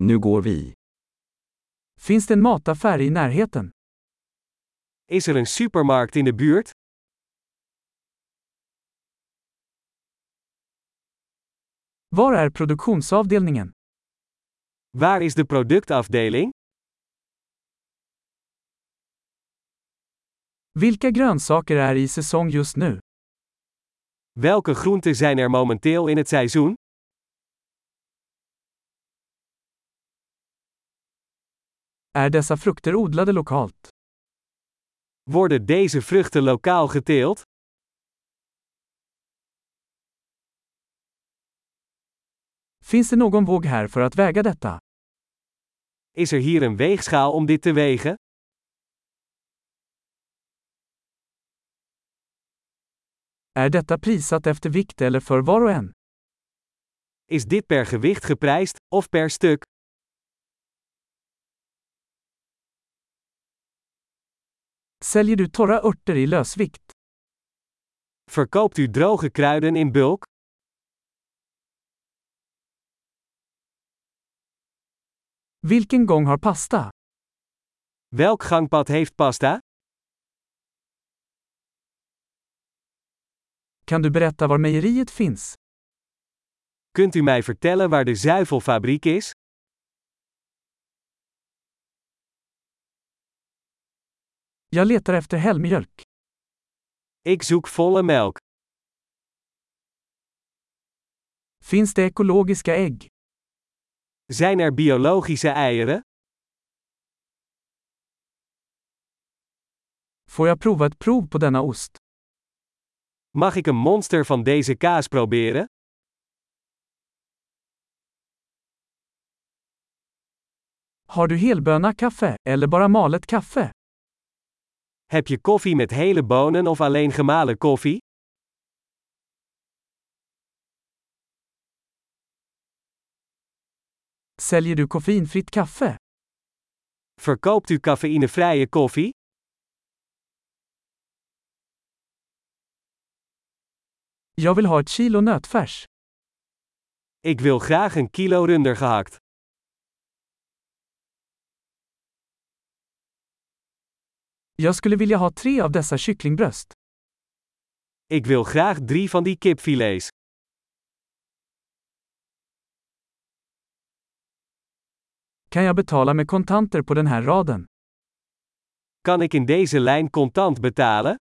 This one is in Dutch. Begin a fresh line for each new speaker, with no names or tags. Nu går vi.
Finns det en mataffär i närheten?
Is er een supermarkt in de buurt?
Var är produktionsavdelningen?
Waar is de productafdeling?
Vilka grönsaker är i säsong just nu?
Welke groenten zijn er momenteel in het seizoen?
Är dessa frukter odlade lokalt?
Worden deze vruchten lokaal geteeld?
Finns det någon våg här för att väga detta?
Is er hier een weegschaal om dit te wegen?
Är detta prissatt efter vikt eller för var och en?
Is dit per gewicht geprijsd of per stuk?
Säljer du torra örter i lösvikt?
Verkoopt u droge kruiden in bulk?
Vilken gång har pasta?
Welk gangpad heeft pasta?
Kan du berätta var mejeriet finns?
Kunt u mij vertellen waar de zuivelfabriek is?
Jag letar efter helmjölk.
Ik zoek volle melk.
Finns det ekologiska ägg?
Zijn er biologische eieren?
Får jag prova ett prov på denna ost?
Mag ik een monster van deze kaas proberen?
Har du helböna kaffe, eller bara malet kaffe?
Heb je koffie met hele bonen of alleen gemalen koffie?
Säljer du koffeinfritt kaffe?
Verkoopt u cafeïnevrije koffie?
Jag vill ha ett kilo nötfärs.
Ik wil graag een kilo runder gehakt.
Jag skulle vilja ha tre av dessa kycklingbröst.
Ik wil graag drie van die kipfilets.
Kan jag betala med kontanter på den här raden?
Kan ik in deze lijn contant betalen?